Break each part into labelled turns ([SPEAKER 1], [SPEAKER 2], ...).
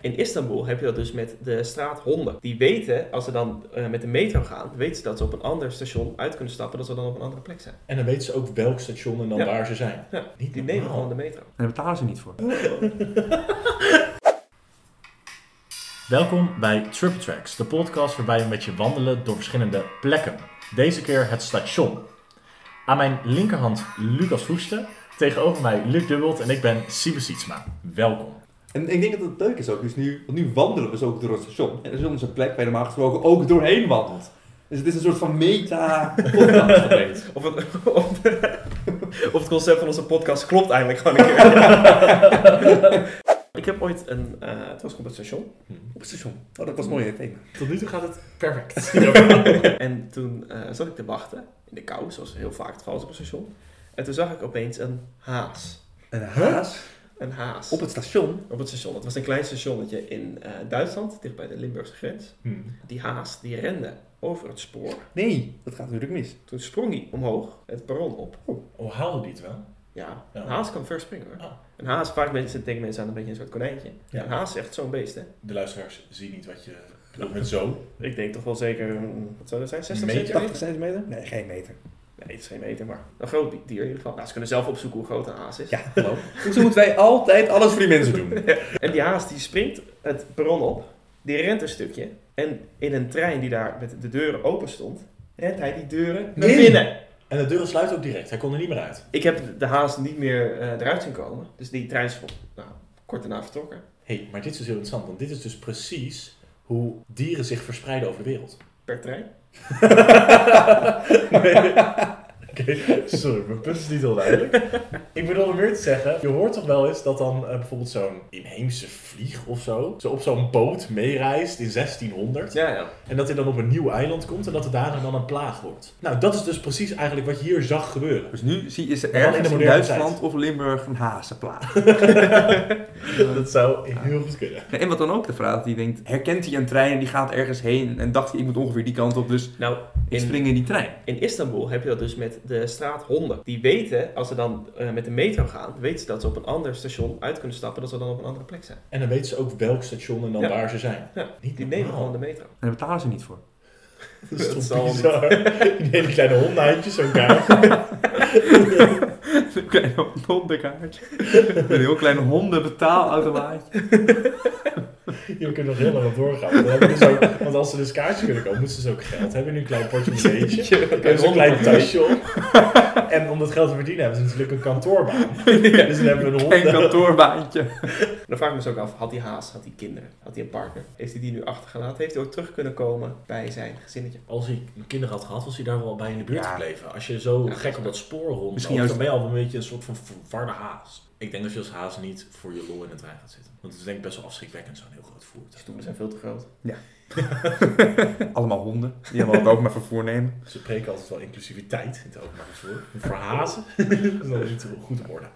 [SPEAKER 1] In Istanbul heb je dat dus met de straathonden. Die weten, als ze dan eh, met de metro gaan, weten ze dat ze op een ander station uit kunnen stappen, dat ze dan op een andere plek zijn.
[SPEAKER 2] En dan weten ze ook welk station en dan
[SPEAKER 1] Ja.
[SPEAKER 2] waar ze zijn.
[SPEAKER 1] Ja,
[SPEAKER 2] Niet
[SPEAKER 1] Die nemen
[SPEAKER 2] normaal.
[SPEAKER 1] gewoon de metro.
[SPEAKER 3] En daar betalen ze niet voor.
[SPEAKER 2] Welkom bij Triple Tracks, de podcast waarbij we met je wandelen door verschillende plekken. Deze keer het station. Aan mijn linkerhand Lucas Voeste, tegenover mij Luc Dubbelt en ik ben Siebe Sietsma. Welkom.
[SPEAKER 4] En ik denk dat het leuk is ook, dus nu, want nu wandelen we zo ook door het station. En dat is onze plek waar je normaal gesproken ook doorheen wandelt. Dus het is een soort van meta-podcast geweest.
[SPEAKER 1] Of het, of, de- of het concept van onze podcast klopt eigenlijk gewoon een keer. Ik heb ooit een, eh, het was op het station,
[SPEAKER 4] Op het station. Oh, dat was mooi in het thema.
[SPEAKER 2] Tot nu toe gaat het perfect.
[SPEAKER 1] En toen eh, zat ik te wachten in de kou, zoals heel vaak het geval is op een station. En toen zag ik opeens een haas.
[SPEAKER 4] Een haas
[SPEAKER 1] Een haas.
[SPEAKER 4] op het station.
[SPEAKER 1] op het station. Het was een klein stationnetje in eh, Duitsland, dicht bij de Limburgse grens.
[SPEAKER 2] Hmm.
[SPEAKER 1] Die haas die rende over het spoor.
[SPEAKER 4] Nee, dat gaat natuurlijk mis.
[SPEAKER 1] Toen sprong hij omhoog het perron op.
[SPEAKER 2] Oh, haalde die het wel?
[SPEAKER 1] Ja,
[SPEAKER 2] Ja.
[SPEAKER 1] een haas kan ver springen hoor.
[SPEAKER 2] Oh.
[SPEAKER 1] Een haas, vaak mensen, denken mensen aan een beetje een soort konijntje.
[SPEAKER 2] Ja.
[SPEAKER 1] Een haas is echt zo'n beest hè.
[SPEAKER 2] De luisteraars zien niet wat je bedoelt met zo.
[SPEAKER 1] Ik denk toch wel zeker, mm, wat zou dat zijn, 60
[SPEAKER 2] Meter?
[SPEAKER 1] centimeter?
[SPEAKER 4] 80 centimeter? Nee, geen meter.
[SPEAKER 1] Nee, het is geen meter, maar een groot dier in ieder geval. Nou, ze kunnen zelf opzoeken hoe groot een haas is.
[SPEAKER 4] Ja, hallo. Hoezo Dus moeten wij altijd alles voor die mensen doen?
[SPEAKER 1] En die haas die springt het perron op, die rent een stukje. En in een trein die daar met de deuren open stond, rent hij die deuren naar
[SPEAKER 2] In.
[SPEAKER 1] binnen.
[SPEAKER 2] En de deuren sluiten ook direct, hij kon er niet meer uit.
[SPEAKER 1] Ik heb de haas niet meer eh, eruit zien komen. Dus die trein is nou, kort daarna vertrokken.
[SPEAKER 2] Hé, hey, maar dit is dus heel interessant, want dit is dus precies hoe dieren zich verspreiden over de wereld.
[SPEAKER 1] Per trein.
[SPEAKER 2] Oké, sorry, mijn punt is niet heel duidelijk. Ik bedoel om weer te zeggen, je hoort toch wel eens dat dan eh, bijvoorbeeld zo'n inheemse vlieg of zo, zo op zo'n boot meereist in 1600
[SPEAKER 1] Ja, ja.
[SPEAKER 2] en dat hij dan op een nieuw eiland komt en dat het daarna dan een plaag wordt. Nou, dat is dus precies eigenlijk wat je hier zag gebeuren.
[SPEAKER 4] Dus nu zie je ze
[SPEAKER 2] Maar dan in de
[SPEAKER 4] ergens in
[SPEAKER 2] moderne
[SPEAKER 4] Duitsland
[SPEAKER 2] tijd.
[SPEAKER 4] of Limburg een hazenplaat.
[SPEAKER 2] Dat zou heel goed kunnen.
[SPEAKER 4] Nee, en wat dan ook de vraag die denkt, herkent hij een trein en die gaat ergens heen en dacht hij ik moet ongeveer die kant op, dus
[SPEAKER 1] Nou,
[SPEAKER 4] ik
[SPEAKER 1] in,
[SPEAKER 4] spring in die trein.
[SPEAKER 1] in Istanbul heb je dat dus met de straathonden. Die weten, als ze dan eh, met de metro gaan, weten ze dat ze op een ander station uit kunnen stappen, dat ze dan op een andere plek zijn.
[SPEAKER 2] En dan weten ze ook welk station en dan
[SPEAKER 1] Ja.
[SPEAKER 2] waar ze zijn.
[SPEAKER 1] Ja.
[SPEAKER 2] Niet
[SPEAKER 1] Die nemen gewoon
[SPEAKER 2] normaal.
[SPEAKER 1] de metro.
[SPEAKER 3] En daar betalen ze niet voor.
[SPEAKER 2] Dat is
[SPEAKER 1] Dat
[SPEAKER 2] toch
[SPEAKER 1] zal
[SPEAKER 2] bizar. Die hele kleine hondenhandjes, zo'n kaart.
[SPEAKER 3] Een klein hondenkaartje. Een heel klein hondenbetaalautomaatje.
[SPEAKER 2] Jullie kunnen nog heel lang op doorgaan. Want, dan hebben we dus ook- want als ze dus kaartjes kunnen kopen, moeten ze dus ook geld hebben. Nu een klein portemonneetje. Hebben ze een klein tasje op. En om dat geld te verdienen hebben ze natuurlijk een kantoorbaan. Dus dan hebben we een hond.
[SPEAKER 3] Geen kantoorbaantje.
[SPEAKER 1] Dan vraag ik me dus ook af, had die haas, had die kinderen, had die een partner? Heeft hij die nu achtergelaten? Heeft hij ook terug kunnen komen bij zijn gezinnetje?
[SPEAKER 2] Als hij kinderen had gehad, was hij daar wel bij in de buurt
[SPEAKER 3] Ja.
[SPEAKER 2] gebleven. Als je zo
[SPEAKER 1] Ja.
[SPEAKER 2] gek op dat spoor rond,
[SPEAKER 3] Misschien juist-
[SPEAKER 2] dan ben je al een beetje een soort van verwarde haas. Ik denk dat je als haas niet voor je lol in de trein gaat zitten. Want het is denk ik best wel afschrikwekkend, zo'n heel groot
[SPEAKER 1] De
[SPEAKER 2] voertuig.
[SPEAKER 1] stoelen zijn veel te groot.
[SPEAKER 3] Allemaal honden. Die hebben ook maar vervoer nemen.
[SPEAKER 2] Ze preken altijd wel inclusiviteit in het openbaar vervoer. Voor hazen is dat niet goed op orde.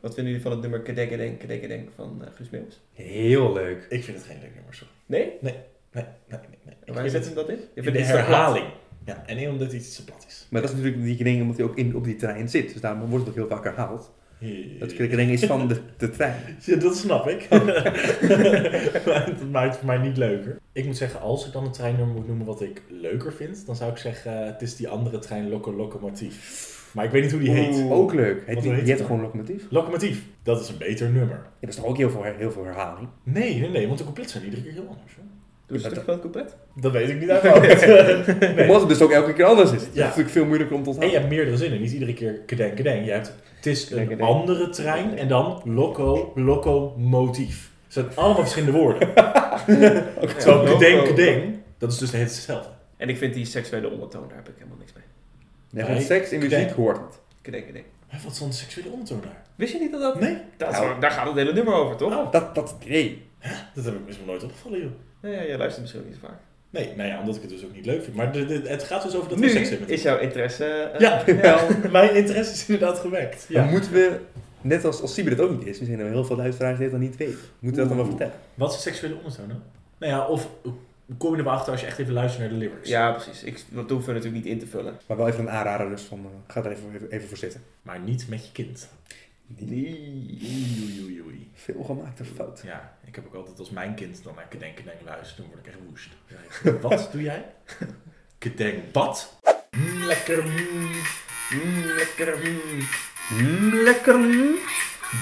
[SPEAKER 1] Wat vinden jullie van het nummer Kedekkedeng, Kedekkedeng van eh, Guus Meeuwis?
[SPEAKER 4] Heel leuk.
[SPEAKER 2] Ik vind het geen leuk nummer, sorry.
[SPEAKER 1] Nee?
[SPEAKER 2] Nee, nee, nee. nee.
[SPEAKER 1] En
[SPEAKER 2] Ik
[SPEAKER 1] waar
[SPEAKER 2] vind
[SPEAKER 1] zit
[SPEAKER 2] het
[SPEAKER 1] hem dat in? Je
[SPEAKER 2] Ik
[SPEAKER 1] vindt
[SPEAKER 2] vind de
[SPEAKER 1] het te plat.
[SPEAKER 2] herhaling. Ja, en één omdat het iets te plat is.
[SPEAKER 4] Maar dat is natuurlijk die kring omdat hij ook in, op die trein zit. Dus daarom wordt het ook heel vaak herhaald. Dat
[SPEAKER 2] ik...
[SPEAKER 4] kring is van de, de trein.
[SPEAKER 2] ja, dat snap ik. Maar dat maakt het voor mij niet leuker. Ik moet zeggen, als ik dan een treinnummer moet noemen wat ik leuker vind, dan zou ik zeggen, eh, het is die andere trein Loco Locomotief. Maar ik weet niet hoe die heet.
[SPEAKER 1] Oeh.
[SPEAKER 4] Ook leuk. Heet die,
[SPEAKER 2] Wat heet
[SPEAKER 4] die
[SPEAKER 2] het
[SPEAKER 4] heeft gewoon locomotief. Ja,
[SPEAKER 2] Locomotief, dat is een beter nummer.
[SPEAKER 4] dat is toch ook heel veel, heel veel herhaling.
[SPEAKER 2] Nee, nee, nee, want de couplets zijn iedere keer heel anders. Hoor.
[SPEAKER 1] Doe eens een stuk van het couplet.
[SPEAKER 2] Dat weet ik niet uit mijn hoofd. Nee.
[SPEAKER 4] Omdat het dus ook elke keer anders is. Dat is
[SPEAKER 2] Ja.
[SPEAKER 4] natuurlijk veel moeilijker om te
[SPEAKER 2] En je
[SPEAKER 4] onthouden.
[SPEAKER 2] hebt meerdere zinnen, niet iedere keer kedeng kedeng. Je hebt, het is een
[SPEAKER 1] Kedeng, kedeng.
[SPEAKER 2] andere trein en dan loco, locomotief. Het zijn allemaal verschillende woorden. Terwijl
[SPEAKER 1] loco.
[SPEAKER 2] kedeng kedeng, dat is dus de hele tijd hetzelfde.
[SPEAKER 1] En ik vind die seksuele ondertoon, daar heb ik helemaal niks mee.
[SPEAKER 4] Ja, want seks in
[SPEAKER 2] Kijk.
[SPEAKER 4] muziek hoort het.
[SPEAKER 1] Kedekkedeng.
[SPEAKER 2] Hé, Wat is dan een seksuele ondertoon daar?
[SPEAKER 1] Wist je niet dat dat...
[SPEAKER 2] Nee,
[SPEAKER 1] dat is
[SPEAKER 4] Nou.
[SPEAKER 1] waar- daar gaat het hele nummer over, toch?
[SPEAKER 2] Oh,
[SPEAKER 4] Dat, dat nee.
[SPEAKER 2] dat heb ik misschien nooit opgevallen joh.
[SPEAKER 1] Nou ja, jij luistert misschien niet zo vaak.
[SPEAKER 2] Nee, nou ja, omdat ik het dus ook niet leuk vind. Maar de- de- het gaat dus over dat we
[SPEAKER 1] nu
[SPEAKER 2] seks hebben.
[SPEAKER 1] is jouw interesse... eh,
[SPEAKER 2] Ja.
[SPEAKER 1] wel-
[SPEAKER 2] Mijn interesse is inderdaad gewekt.
[SPEAKER 4] Dan moeten we, net als, als Sieber het ook niet is, misschien zijn er heel veel luisteraars die het dan niet weten. Moeten we dat dan wel
[SPEAKER 2] Oeh.
[SPEAKER 4] vertellen?
[SPEAKER 2] Wat is een seksuele ondertoon dan? Nou ja, of kom je er wel achter als je echt even luistert naar de lyrics.
[SPEAKER 1] Ja, precies. Ik, dat hoeven we natuurlijk niet in te vullen.
[SPEAKER 4] Maar wel even een aanrader dus van, eh, ga er even, even, even voor zitten.
[SPEAKER 2] Maar niet met je kind. Oei, oei, oei, oei.
[SPEAKER 4] Veel gemaakte fout.
[SPEAKER 2] Ja, ik heb ook altijd als mijn kind dan naar Kedeng Kedeng luistert, dan word ik echt woest. Dan zeg ik, Wat doe jij? Kedeng, wat? Mm, lekker, mm, mm, lekker, mm.
[SPEAKER 3] lekker.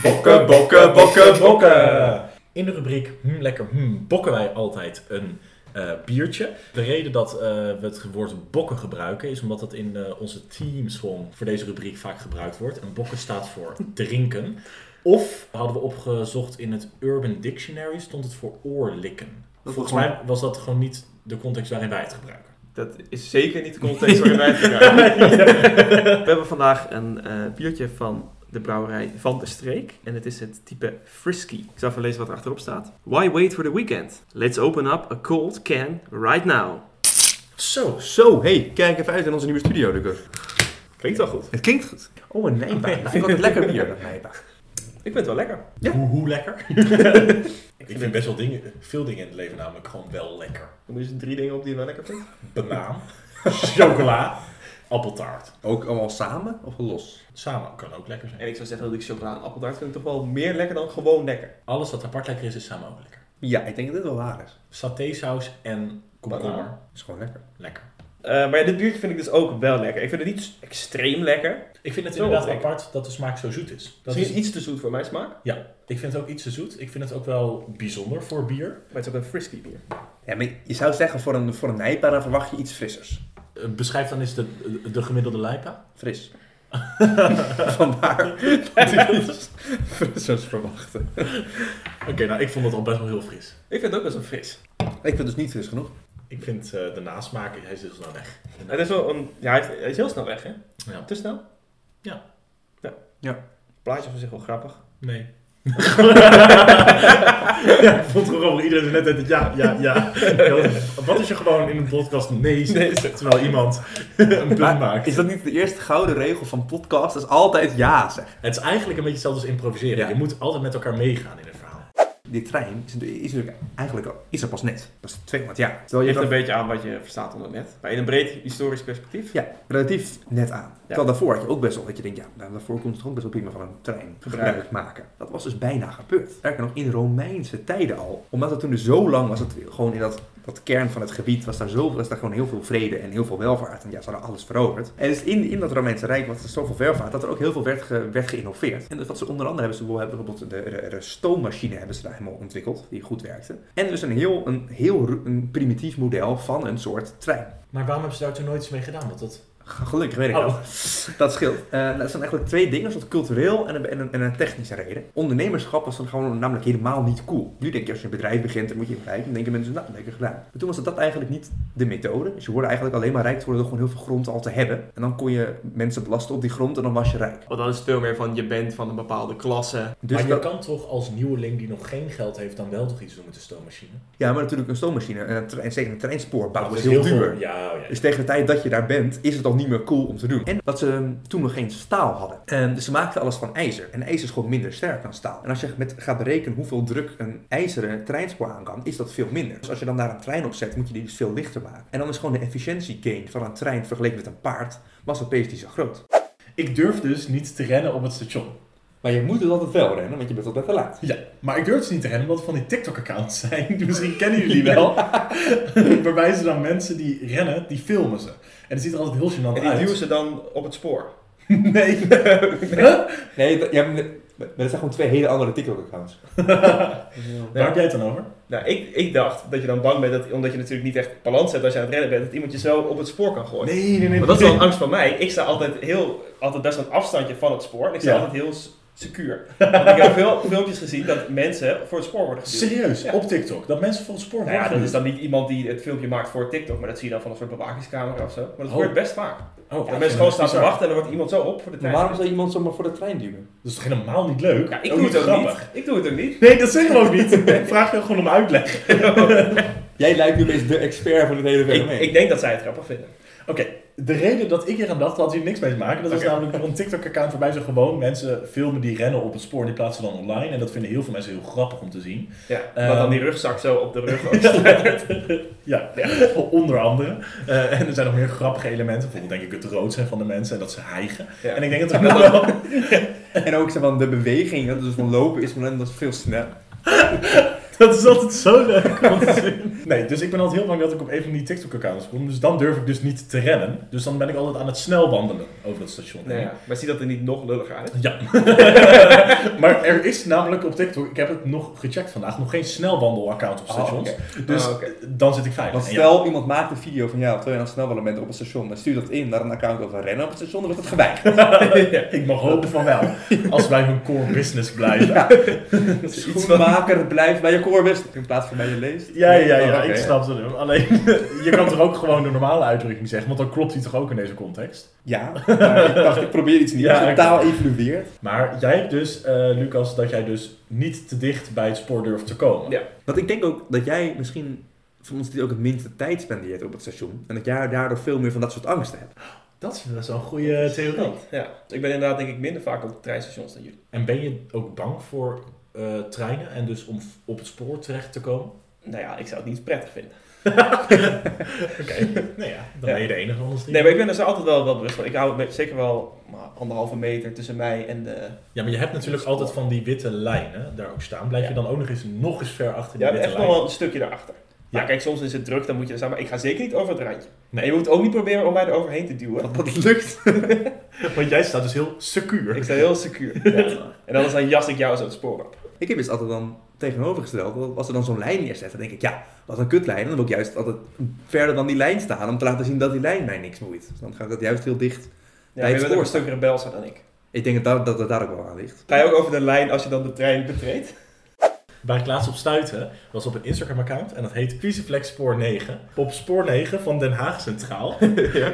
[SPEAKER 2] Bokken, bokken, bokken, bokken. In de rubriek hmm, lekker hmm, bokken wij altijd een eh, biertje. De reden dat eh, we het woord bokken gebruiken is omdat dat in eh, onze teamsong voor deze rubriek vaak gebruikt wordt. En bokken staat voor drinken. Of hadden we opgezocht in het Urban Dictionary stond het voor oorlikken.
[SPEAKER 3] Dat
[SPEAKER 2] Volgens
[SPEAKER 3] was-
[SPEAKER 2] mij was dat gewoon niet de context waarin wij het gebruiken.
[SPEAKER 1] Dat is zeker niet de context waarin wij het gebruiken. We hebben vandaag een eh, biertje van de brouwerij Van de Streek. En het is het type Frisky. Ik zal even lezen wat er achterop staat. Why wait for the weekend? Let's open up a cold can right now.
[SPEAKER 2] Zo.
[SPEAKER 3] Zo, hey, kijk even uit in onze nieuwe studio, Lucas.
[SPEAKER 1] Klinkt wel goed.
[SPEAKER 3] Het klinkt goed. Oh, een Nijpa. Ik vind het lekker bier, dat Nijpa.
[SPEAKER 1] Ik vind het wel lekker.
[SPEAKER 2] Hoe, hoe lekker?
[SPEAKER 1] Ik
[SPEAKER 2] Ik vind best wel dingen, veel dingen in het leven namelijk gewoon wel lekker.
[SPEAKER 1] Dan moet je dus drie dingen op die je wel lekker vindt.
[SPEAKER 2] banaan, chocola, appeltaart.
[SPEAKER 3] Ook allemaal samen of los?
[SPEAKER 2] Samen kan ook lekker zijn.
[SPEAKER 1] En ik zou zeggen dat ik chocolade en appeltaart vind ik toch wel meer lekker dan gewoon lekker.
[SPEAKER 2] Alles wat apart lekker is, is samen ook lekker.
[SPEAKER 3] Ja, ik denk dat dit wel waar is.
[SPEAKER 2] Satésaus en komkommer.
[SPEAKER 1] Banaan.
[SPEAKER 3] Is gewoon lekker.
[SPEAKER 2] Lekker.
[SPEAKER 1] Eh, maar ja, dit biertje vind ik dus ook wel lekker. Ik vind het niet s- extreem lekker.
[SPEAKER 2] Ik vind het
[SPEAKER 1] Zo
[SPEAKER 2] inderdaad
[SPEAKER 1] lekker.
[SPEAKER 2] apart dat de smaak zo zoet is. Dat
[SPEAKER 1] Misschien
[SPEAKER 2] is
[SPEAKER 1] iets te zoet voor mijn smaak.
[SPEAKER 2] ja, ik vind het ook iets te zoet. Ik vind het ook wel bijzonder voor bier.
[SPEAKER 1] Maar het is ook een frisky bier.
[SPEAKER 3] Ja, maar je zou zeggen, voor een, voor een Nijpa dan verwacht je iets frissers.
[SPEAKER 2] Eh, Beschrijf dan eens de, de- de gemiddelde lijpa.
[SPEAKER 3] Fris. Vandaar. Frissers verwachten.
[SPEAKER 2] Oké, nou ik vond het al best wel heel fris.
[SPEAKER 1] Ik vind het ook best wel fris.
[SPEAKER 3] Ik vind dus niet fris genoeg.
[SPEAKER 2] Ik vind eh, de nasmaak, hij nou is heel snel weg.
[SPEAKER 1] Het is wel een... Ja, hij is- hij is heel snel weg, hè?
[SPEAKER 2] Ja.
[SPEAKER 1] Te snel?
[SPEAKER 2] Ja.
[SPEAKER 1] Ja.
[SPEAKER 3] Ja. Oh,
[SPEAKER 1] Plaatje van zich wel grappig.
[SPEAKER 2] Nee. ja, ik vond het gewoon grappig. Iedereen zei net altijd ja, ja, ja. Wat is je gewoon in een podcast nee zegt,
[SPEAKER 1] Nee,
[SPEAKER 2] terwijl iemand een punt maakt?
[SPEAKER 3] Is dat niet de eerste gouden regel van podcast? Dat is altijd ja zeggen.
[SPEAKER 2] Het is eigenlijk een beetje hetzelfde als improviseren.
[SPEAKER 3] Ja.
[SPEAKER 2] Je moet altijd met elkaar meegaan in het verhaal.
[SPEAKER 3] Die trein is, natuurlijk- is natuurlijk eigenlijk al, is er pas net. Dat is 200 jaar.
[SPEAKER 1] Het
[SPEAKER 3] Terwijl je
[SPEAKER 1] ligt
[SPEAKER 3] dat-
[SPEAKER 1] een beetje aan wat je verstaat onder net. Maar in een breed historisch perspectief
[SPEAKER 3] Ja, relatief net aan. Terwijl daarvoor had je ook best wel dat je denkt, ja, nou, daarvoor komt het toch ook best wel prima van een trein gebruik maken. Dat was dus bijna gebeurd. Sterker nog, in Romeinse tijden al. Omdat het toen dus zo lang was, het gewoon in dat, dat kern van het gebied was daar, zo, was daar gewoon heel veel vrede en heel veel welvaart. En ja, ze hadden alles veroverd. En dus in, in dat Romeinse Rijk was er zoveel welvaart dat er ook heel veel werd, ge- werd geïnnoveerd. En dus wat ze onder andere hebben, ze hebben bijvoorbeeld de, de, de stoommachine hebben ze daar helemaal ontwikkeld, die goed werkte. En dus een heel, een heel ru- een primitief model van een soort trein.
[SPEAKER 2] Maar waarom hebben ze daar toen nooit iets mee gedaan? Want dat...
[SPEAKER 3] Gelukkig weet ik
[SPEAKER 2] Oh.
[SPEAKER 3] dat. Dat scheelt. Eh, nou, dat zijn eigenlijk twee dingen. Dat cultureel en een, en, een, en een technische reden. Ondernemerschap was dan gewoon namelijk helemaal niet cool. Nu denk je als je een bedrijf begint, dan moet je rijk. Dan denken mensen, nou, lekker gedaan. Maar toen was dat, dat eigenlijk niet de methode. Dus je hoorde eigenlijk alleen maar rijk te worden door gewoon heel veel grond al te hebben. En dan kon je mensen belasten op die grond en dan was je rijk.
[SPEAKER 1] Want dan is het veel meer van je bent van een bepaalde klasse.
[SPEAKER 3] Dus
[SPEAKER 2] maar je
[SPEAKER 3] dat-
[SPEAKER 2] kan toch als nieuweling die nog geen geld heeft, dan wel toch iets doen met de stoommachine?
[SPEAKER 3] Ja, maar natuurlijk een stoommachine en een trein, zeker een treinspoor bouwen
[SPEAKER 2] Dat
[SPEAKER 3] is heel, duur.
[SPEAKER 2] veel- Ja, oh ja.
[SPEAKER 3] Dus tegen de tijd dat je daar bent, is het al niet meer cool om te doen. En dat ze ehm, toen nog geen staal hadden. Ehm, dus ze maakten alles van ijzer. En ijzer is gewoon minder sterk dan staal. En als je met, gaat berekenen hoeveel druk een ijzeren treinspoor aan kan, is dat veel minder. Dus als je dan daar een trein op zet, moet je die dus veel lichter maken. En dan is gewoon de efficiëntie gain van een trein vergeleken met een paard, was opeens niet zo groot.
[SPEAKER 2] Ik durf dus niet te rennen op het station.
[SPEAKER 4] Maar je moet dus altijd wel rennen, want je bent altijd te laat.
[SPEAKER 2] Ja, maar ik durf dus niet te rennen omdat het van die TikTok-accounts zijn. Misschien kennen jullie die wel. Waarbij ze dan mensen die rennen, die filmen ze. En het ziet er altijd heel gênant
[SPEAKER 1] En die
[SPEAKER 2] uit.
[SPEAKER 1] duwen ze dan op het spoor.
[SPEAKER 2] Nee.
[SPEAKER 4] Nee, dat, ja, maar dat- maar dat zijn gewoon twee hele andere TikTok-accounts.
[SPEAKER 2] Waar heb jij het dan over?
[SPEAKER 1] Nou, ik, ik dacht dat je dan bang bent, dat, omdat je natuurlijk niet echt balans hebt als je aan het rennen bent, dat iemand je zo op het spoor kan gooien.
[SPEAKER 2] Nee, nee, nee.
[SPEAKER 1] Maar dat is wel een angst van mij. Ik sta altijd, heel, altijd best een afstandje van het spoor. En ik sta
[SPEAKER 2] Ja.
[SPEAKER 1] altijd heel s- secuur. Want ik heb veel filmpjes gezien dat mensen voor het spoor worden geduwd.
[SPEAKER 2] Serieus,
[SPEAKER 1] Ja.
[SPEAKER 2] op TikTok. Dat mensen voor het spoor
[SPEAKER 1] Nou ja, dat
[SPEAKER 2] worden
[SPEAKER 1] is dan niet iemand die het filmpje maakt voor TikTok, maar dat zie je dan van een soort bewakingscamera of zo. Maar dat
[SPEAKER 2] Oh.
[SPEAKER 1] gebeurt best vaak.
[SPEAKER 2] geduwd. Oh,
[SPEAKER 1] dat mensen gewoon staan te wachten en dan wordt iemand zo op voor de
[SPEAKER 4] Maar
[SPEAKER 1] trein.
[SPEAKER 4] waarom zou iemand zomaar voor de trein duwen?
[SPEAKER 2] Dat is toch helemaal niet leuk?
[SPEAKER 1] Ja, ik doe het ook
[SPEAKER 2] grappig.
[SPEAKER 1] niet. Ik doe het ook niet.
[SPEAKER 2] Nee, dat zeggen we ook niet. Ik vraag je gewoon om uitleg.
[SPEAKER 4] Jij lijkt nu opeens de expert van het hele
[SPEAKER 1] Ik,
[SPEAKER 4] fenomeen.
[SPEAKER 1] ik denk dat zij het grappig vinden.
[SPEAKER 2] Oké, De reden dat ik hier aan dacht, had hier niks mee te maken. Dat was
[SPEAKER 1] Oké.
[SPEAKER 2] namelijk door een TikTok-account waarbij ze gewoon mensen filmen die rennen op een spoor. en Die plaatsen ze dan online. En dat vinden heel veel mensen heel grappig om te zien.
[SPEAKER 1] Ja,
[SPEAKER 2] Eh,
[SPEAKER 1] wat dan die rugzak zo op de rug ook
[SPEAKER 2] Ja, onder andere. Eh, en er zijn nog meer grappige elementen. Bijvoorbeeld denk ik het rood zijn van de mensen en dat ze hijgen.
[SPEAKER 1] Ja.
[SPEAKER 2] En ik denk dat er wel...
[SPEAKER 3] En ook zeg, van de beweging, dat is dus van lopen is van hem, dat is veel sneller.
[SPEAKER 2] Dat is altijd zo leuk om te zien. Nee, dus ik ben altijd heel bang dat ik op een van die TikTok-accounts kom. Dus dan durf ik dus niet te rennen. Dus dan ben ik altijd aan het snel wandelen over dat station.
[SPEAKER 1] Nee, Nou ja. Maar zie dat er niet nog lulliger uit?
[SPEAKER 2] Ja. maar er is namelijk op TikTok, ik heb het nog gecheckt vandaag, nog geen snelwandelaccount op
[SPEAKER 3] Oh,
[SPEAKER 2] stations.
[SPEAKER 1] oké.
[SPEAKER 2] Dus
[SPEAKER 1] Oh, oké.
[SPEAKER 2] dan zit ik veilig.
[SPEAKER 3] Want
[SPEAKER 2] En
[SPEAKER 3] stel, iemand maakt een video van jou terwijl je aan het snelwandelen bent op een station. Dan stuurt dat in naar een account over rennen op het station, dan wordt het geweigerd.
[SPEAKER 2] ja, ik mag hopen van wel. Als wij hun core business blijven. Ja,
[SPEAKER 3] Dus Schoenmaker blijft bij je core business in plaats van bij je leest.
[SPEAKER 2] ja, ja,
[SPEAKER 3] Oh, oké,
[SPEAKER 2] ik snap het. wel. Alleen, je kan toch ook gewoon de normale uitdrukking zeggen, want dan klopt die toch ook in deze context.
[SPEAKER 3] Ja, maar ik dacht, ik probeer iets nieuws.
[SPEAKER 2] Ja,
[SPEAKER 3] Als je
[SPEAKER 2] oké.
[SPEAKER 3] taal evolueert,
[SPEAKER 2] Maar jij hebt dus, eh, Lucas, dat jij dus niet te dicht bij het spoor durft te komen.
[SPEAKER 1] Ja.
[SPEAKER 3] Want ik denk ook dat jij misschien van ons die ook het minste tijd spendeert op het station. En dat jij daardoor veel meer van dat soort angsten hebt.
[SPEAKER 2] Dat is wel zo'n goede theorie.
[SPEAKER 1] Ja. Ik ben inderdaad denk ik minder vaak op treinstations dan jullie.
[SPEAKER 2] En ben je ook bang voor eh, treinen en dus om op het spoor terecht te komen?
[SPEAKER 1] Nou ja, ik zou het niet prettig vinden.
[SPEAKER 2] Oké, nou ja, dan
[SPEAKER 1] Ja.
[SPEAKER 2] ben je de enige anders die...
[SPEAKER 1] Nee, maar ik ben dus er zo altijd wel, wel bewust van. Ik hou me- zeker wel maar anderhalve meter tussen mij en de...
[SPEAKER 2] Ja, maar je hebt natuurlijk altijd van die witte lijnen daar ook staan. Blijf je
[SPEAKER 1] Ja.
[SPEAKER 2] dan ook nog eens, nog eens ver achter die
[SPEAKER 1] Ja,
[SPEAKER 2] witte
[SPEAKER 1] echt
[SPEAKER 2] lijn?
[SPEAKER 1] nog wel een stukje daarachter. Ja,
[SPEAKER 2] Ja.
[SPEAKER 1] kijk, soms is het druk, dan moet je er staan. Maar ik ga zeker niet over het randje.
[SPEAKER 2] Nee.
[SPEAKER 1] En je moet ook niet proberen om mij er overheen te duwen.
[SPEAKER 3] Dat dat lukt.
[SPEAKER 2] Want jij staat dus heel secuur.
[SPEAKER 1] Ik sta heel secuur. Ja. En anders dan jas ik jou zo het spoor op.
[SPEAKER 3] Ik heb dus altijd dan tegenovergesteld, dat als er dan zo'n lijn neerzet, dan denk ik, ja, wat een kutlijn. En dan wil ik juist altijd verder dan die lijn staan, om te laten zien dat die lijn mij niks moeit. Dus dan ga ik dat juist heel dicht.
[SPEAKER 1] Ja,
[SPEAKER 3] Bij
[SPEAKER 1] je
[SPEAKER 3] het
[SPEAKER 1] bent ook
[SPEAKER 3] spoor.
[SPEAKER 1] een stuk rebelser dan ik.
[SPEAKER 3] Ik denk dat daar- dat het daar ook wel aan ligt.
[SPEAKER 1] Ga je ook over de lijn als je dan de trein betreedt?
[SPEAKER 2] Waar ik laatst op stuitte, was op een Instagram-account en dat heet Quiziflex Spoor 9. Op Spoor 9 van Den Haag Centraal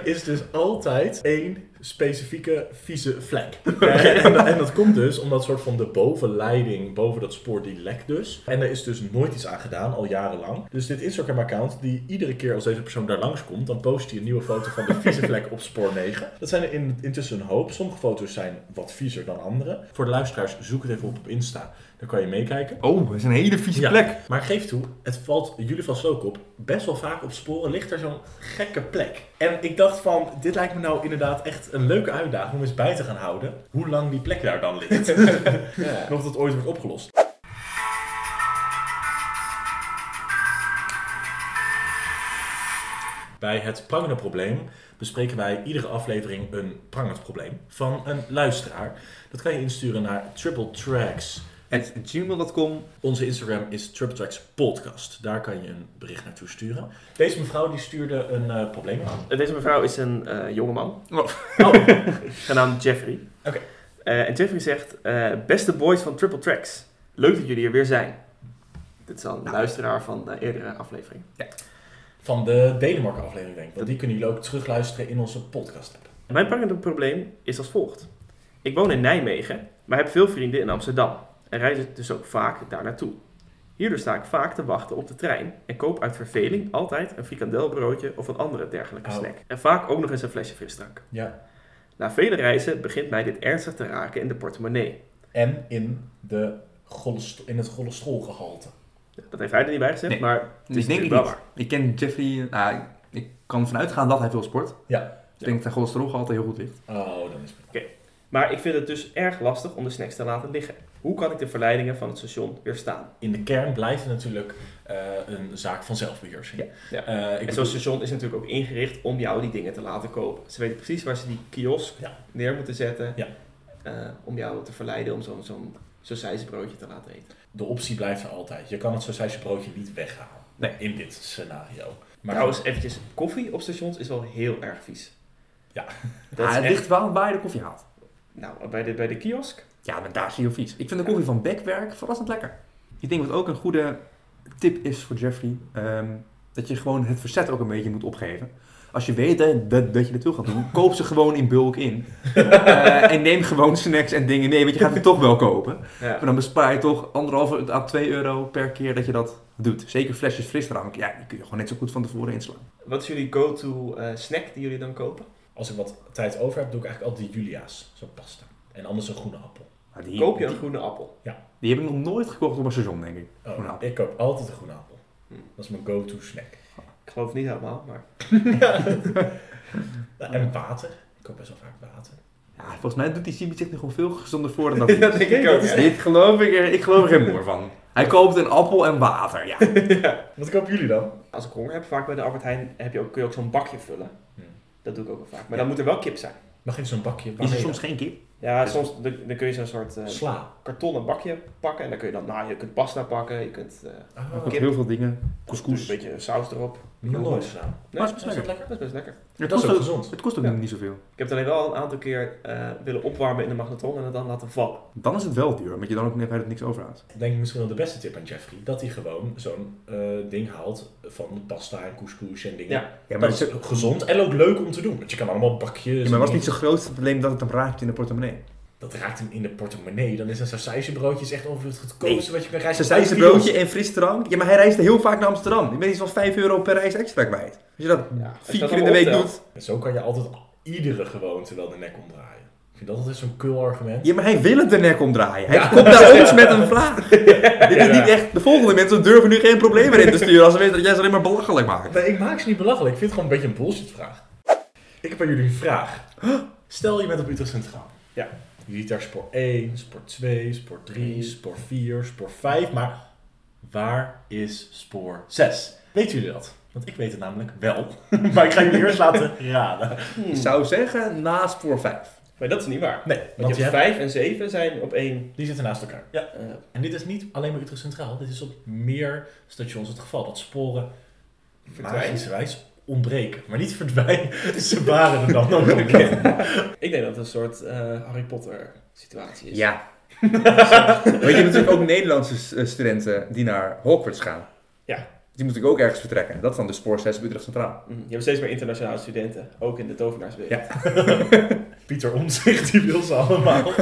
[SPEAKER 2] is dus altijd één specifieke vieze vlek. Eh, en, en dat komt dus omdat soort van de bovenleiding boven dat spoor die lekt dus. En er is dus nooit iets aan gedaan, al jarenlang. Dus dit Instagram-account, die iedere keer als deze persoon daar langskomt, dan post hij een nieuwe foto van de vieze vlek op Spoor 9. Dat zijn er in, intussen een hoop. Sommige foto's zijn wat viezer dan andere. Voor de luisteraars, zoek het even op op Insta. Dan kan je meekijken.
[SPEAKER 3] Oh, dat is een hele vieze
[SPEAKER 2] Ja, Maar ik geef toe, het valt jullie vast ook op. Best wel vaak op sporen ligt er zo'n gekke plek. En ik dacht van, dit lijkt me nou inderdaad echt een leuke uitdaging om eens bij te gaan houden. Hoe lang die plek daar dan ligt.
[SPEAKER 1] Ja.
[SPEAKER 2] en of dat ooit wordt opgelost. Bij het prangende probleem bespreken wij iedere aflevering een prangend probleem van een luisteraar. Dat kan je insturen naar Triple Tracks
[SPEAKER 3] At gmail.com.
[SPEAKER 2] onze Instagram is TripTracks Podcast. Daar kan je een bericht naartoe sturen. Deze mevrouw die stuurde een eh, probleem aan.
[SPEAKER 1] Deze mevrouw is een eh, jongeman,
[SPEAKER 2] Oh,
[SPEAKER 1] genaamd Jeffrey.
[SPEAKER 2] Oké.
[SPEAKER 1] Eh, en Jeffrey zegt, eh, beste boys van Triple Tracks, leuk dat jullie er weer zijn. Dit is al een
[SPEAKER 2] Nou.
[SPEAKER 1] luisteraar van de eerdere aflevering.
[SPEAKER 2] van de Denemarken aflevering denk ik. Want die kunnen jullie ook terugluisteren in onze podcast app.
[SPEAKER 1] Mijn prangende probleem is als volgt. Ik woon in Nijmegen, maar heb veel vrienden in Amsterdam en reis dus ook vaak daar naartoe. Hierdoor sta ik vaak te wachten op de trein en koop uit verveling altijd een frikandelbroodje of een andere dergelijke
[SPEAKER 2] Oh.
[SPEAKER 1] snack. En vaak ook nog eens een flesje frisdrank.
[SPEAKER 2] Ja.
[SPEAKER 1] Na vele reizen begint mij dit ernstig te raken in de portemonnee.
[SPEAKER 2] En in, de cholest- in het cholesterolgehalte.
[SPEAKER 1] Dat heeft hij er niet bij gezegd,
[SPEAKER 3] Nee,
[SPEAKER 1] maar het is
[SPEAKER 3] ik denk ik
[SPEAKER 1] natuurlijk wel
[SPEAKER 3] niet.
[SPEAKER 1] waar.
[SPEAKER 3] Ik ken Jeffrey, nou, ik kan ervan uitgaan dat hij veel sport.
[SPEAKER 2] Ja.
[SPEAKER 3] Ik denk dat zijn cholesterolgehalte heel goed ligt.
[SPEAKER 2] Oh, dan is het.
[SPEAKER 1] Maar ik vind het dus erg lastig om de snacks te laten liggen. Hoe kan ik de verleidingen van het station weerstaan?
[SPEAKER 2] In de kern blijft het natuurlijk eh, een zaak van zelfbeheersing.
[SPEAKER 1] Ja, ja.
[SPEAKER 2] Eh,
[SPEAKER 1] En
[SPEAKER 2] ik bedoel-
[SPEAKER 1] zo'n station is natuurlijk ook ingericht om jou die dingen te laten kopen. Ze weten precies waar ze die kiosk
[SPEAKER 2] Ja.
[SPEAKER 1] neer moeten zetten.
[SPEAKER 2] Ja.
[SPEAKER 1] eh, om jou te verleiden om zo'n zo'n broodje te laten eten.
[SPEAKER 2] de optie blijft er altijd. Je kan het sausijsbroodje niet weghalen.
[SPEAKER 3] Nee.
[SPEAKER 2] In dit scenario.
[SPEAKER 1] Maar trouwens, eventjes, koffie op stations is wel heel erg vies.
[SPEAKER 2] Ja.
[SPEAKER 1] Dat
[SPEAKER 3] Ah,
[SPEAKER 1] is
[SPEAKER 3] het
[SPEAKER 1] echt...
[SPEAKER 3] ligt wel waar je de koffie haalt.
[SPEAKER 1] Nou, bij de, bij de kiosk?
[SPEAKER 3] Ja, maar daar zie je heel vies. Ik vind de koffie van Bekwerk verrassend lekker. Ik denk wat ook een goede tip is voor Jeffrey, ehm, dat je gewoon het verzet ook een beetje moet opgeven. Als je weet hè, dat, dat je dat wil gaan doen, koop ze gewoon in bulk in. Eh, en neem gewoon snacks en dingen mee, want je gaat het toch wel kopen.
[SPEAKER 1] Ja.
[SPEAKER 3] Maar dan bespaar je toch anderhalve à 2 euro per keer dat je dat doet. Zeker flesjes frisdrank, ja, die kun je gewoon net zo goed van tevoren inslaan.
[SPEAKER 1] Wat is jullie go-to eh, snack die jullie dan kopen?
[SPEAKER 2] Als ik wat tijd over heb, doe ik eigenlijk altijd die Julia's. Zo'n pasta. En anders een groene appel.
[SPEAKER 3] Maar die,
[SPEAKER 1] Koop je een
[SPEAKER 3] die,
[SPEAKER 1] groene appel?
[SPEAKER 3] die heb ik nog nooit gekocht op een seizoen, denk ik.
[SPEAKER 2] Oh,
[SPEAKER 3] Groene appel.
[SPEAKER 2] Ik koop altijd een groene appel.
[SPEAKER 1] Hm.
[SPEAKER 2] Dat is mijn go-to snack.
[SPEAKER 1] Ik geloof het niet helemaal, maar...
[SPEAKER 2] Nou,
[SPEAKER 3] Hmm.
[SPEAKER 2] En water. Ik koop best wel vaak water.
[SPEAKER 3] Ja, volgens mij doet die Sibi zich nu gewoon veel gezonder voor dan dat.
[SPEAKER 1] denk ik ook.
[SPEAKER 3] Dit geloof ik, er- ik geloof er geen moer van. Hij koopt een appel en water, ja.
[SPEAKER 2] Wat kopen jullie dan?
[SPEAKER 1] Als ik honger heb, vaak bij de Albert Heijn, heb je ook, kun je ook zo'n bakje vullen.
[SPEAKER 2] Hm.
[SPEAKER 1] Dat doe ik ook wel vaak. Maar dan moet er wel kip zijn.
[SPEAKER 2] Mag even zo'n bakje
[SPEAKER 3] Is er
[SPEAKER 2] waarmee
[SPEAKER 3] soms geen kip?
[SPEAKER 1] Ja, soms dan, dan kun je zo'n soort
[SPEAKER 2] dan?
[SPEAKER 1] eh,
[SPEAKER 2] sla.
[SPEAKER 1] kartonnen bakje pakken. En dan kun je dan, nou, je kunt pasta pakken, je kunt eh,
[SPEAKER 2] Ah,
[SPEAKER 3] Ik
[SPEAKER 1] Kip.
[SPEAKER 3] heel veel dingen.
[SPEAKER 1] doe
[SPEAKER 3] Couscous.
[SPEAKER 1] een beetje saus erop.
[SPEAKER 2] nog nooit sla.
[SPEAKER 1] Nee,
[SPEAKER 3] Maar is best lekker.
[SPEAKER 1] Dat is best lekker.
[SPEAKER 3] Het
[SPEAKER 2] Dat is
[SPEAKER 3] kost
[SPEAKER 2] ook
[SPEAKER 3] ook,
[SPEAKER 2] gezond.
[SPEAKER 3] het kost ook
[SPEAKER 1] Ja.
[SPEAKER 3] niet zoveel.
[SPEAKER 1] Ik heb het alleen wel een aantal keer eh, willen opwarmen in de magnetron en het dan laten vallen.
[SPEAKER 3] Dan is het wel duur, omdat je dan ook net verder niks overhoudt.
[SPEAKER 2] Ik Denk misschien wel de beste tip aan Jeffrey. Dat hij gewoon zo'n eh, ding haalt van pasta en couscous en dingen.
[SPEAKER 1] Ja,
[SPEAKER 3] Ja,
[SPEAKER 2] dat is ook gezond en ook leuk om te doen. Want je kan allemaal bakjes.
[SPEAKER 3] maar was
[SPEAKER 2] en-
[SPEAKER 3] niet zo'n groot probleem dat het hem raakt in de portemonnee?
[SPEAKER 2] Dat raakt hem in de portemonnee. Dan is een sausijzenbroodje is echt ongeveer het goedkoopste wat je kan reizen.
[SPEAKER 3] Ze zei zijn broodje en frisdrank. Ja, maar hij reisde heel vaak naar Amsterdam. Je bent iets van 5 euro per reis extra kwijt. Als je dat
[SPEAKER 1] Ja, als je
[SPEAKER 3] vier
[SPEAKER 1] dat
[SPEAKER 3] keer in de week
[SPEAKER 1] allemaal
[SPEAKER 3] doet.
[SPEAKER 2] En zo kan je altijd iedere gewoonte wel de nek omdraaien. Ik vind dat altijd zo'n kul argument.
[SPEAKER 3] Ja, maar hij wil het de nek omdraaien. Hij komt naar ons met een vraag. Dit is niet echt... De volgende mensen durven nu geen problemen in te sturen als ze weten dat jij ze alleen maar belachelijk maakt.
[SPEAKER 2] Nee, ik maak ze niet belachelijk. Ik vind het gewoon een beetje een bullshitvraag. Ik heb aan jullie een vraag. Stel je bent op Utrecht Centraal.
[SPEAKER 1] Ja.
[SPEAKER 2] Je ziet daar spoor 1, spoor 2, spoor 3, spoor 4, spoor 5. Maar waar is spoor 6? Weten jullie dat? Want ik weet het namelijk wel. maar ik ga jullie eerst laten raden.
[SPEAKER 3] Ik zou zeggen, naast voor 5.
[SPEAKER 1] Maar dat is niet waar.
[SPEAKER 2] Nee,
[SPEAKER 1] Want
[SPEAKER 2] want
[SPEAKER 1] je
[SPEAKER 2] je hebt-
[SPEAKER 1] 5 en 7 zijn op één.
[SPEAKER 2] die zitten naast elkaar. Ja.
[SPEAKER 1] eh,
[SPEAKER 2] En dit is niet alleen maar Utrecht Centraal. Dit is op meer stations het geval. Dat sporen
[SPEAKER 1] Verdwijnen.
[SPEAKER 2] magischerwijs ontbreken. Maar niet verdwijnen. Ze waren er dan ook bekend.
[SPEAKER 1] ik denk dat het een soort eh, Harry Potter situatie is.
[SPEAKER 3] Ja. Weet je, je hebt natuurlijk ook Nederlandse eh, studenten die naar Hogwarts gaan.
[SPEAKER 1] Ja.
[SPEAKER 3] Die moeten ook ergens vertrekken. Dat is dan de spoor 6 Utrecht Centraal.
[SPEAKER 1] Mm, je hebt steeds meer internationale studenten, ook in de tovenaarswereld.
[SPEAKER 3] Ja.
[SPEAKER 2] Pieter Omtzigt, die wil ze allemaal.
[SPEAKER 1] Ik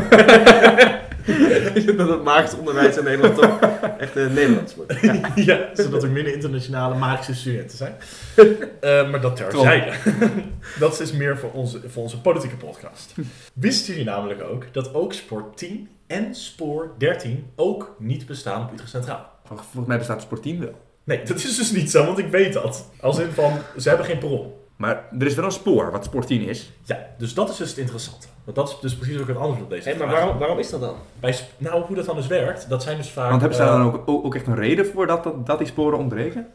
[SPEAKER 1] vind dat het magisch onderwijs in Nederland toch echt eh, Nederlands wordt.
[SPEAKER 2] ja, zodat er minder internationale magische studenten zijn. Eh, maar dat terzijde. dat is meer voor onze, voor onze politieke podcast. Wisten jullie namelijk ook dat ook spoor 10 en spoor 13 ook niet bestaan op Utrecht Centraal?
[SPEAKER 3] Vol- Volgens mij bestaat spoor 10 wel.
[SPEAKER 2] Nee, dat is dus niet zo, want ik weet dat. Als in van, ze hebben geen perron.
[SPEAKER 3] Maar er is wel een spoor, wat spoor 10 is.
[SPEAKER 2] Ja, dus dat is dus het interessante. Want dat is dus precies ook het antwoord op deze
[SPEAKER 1] Hé, maar
[SPEAKER 2] vraag.
[SPEAKER 1] waarom, waarom is dat dan?
[SPEAKER 2] Bij sp- nou, hoe dat dan dus werkt, dat zijn dus vaak...
[SPEAKER 3] Want hebben ze
[SPEAKER 2] eh,
[SPEAKER 3] daar dan ook, ook, ook echt een reden voor dat, dat, dat die sporen ontbreken?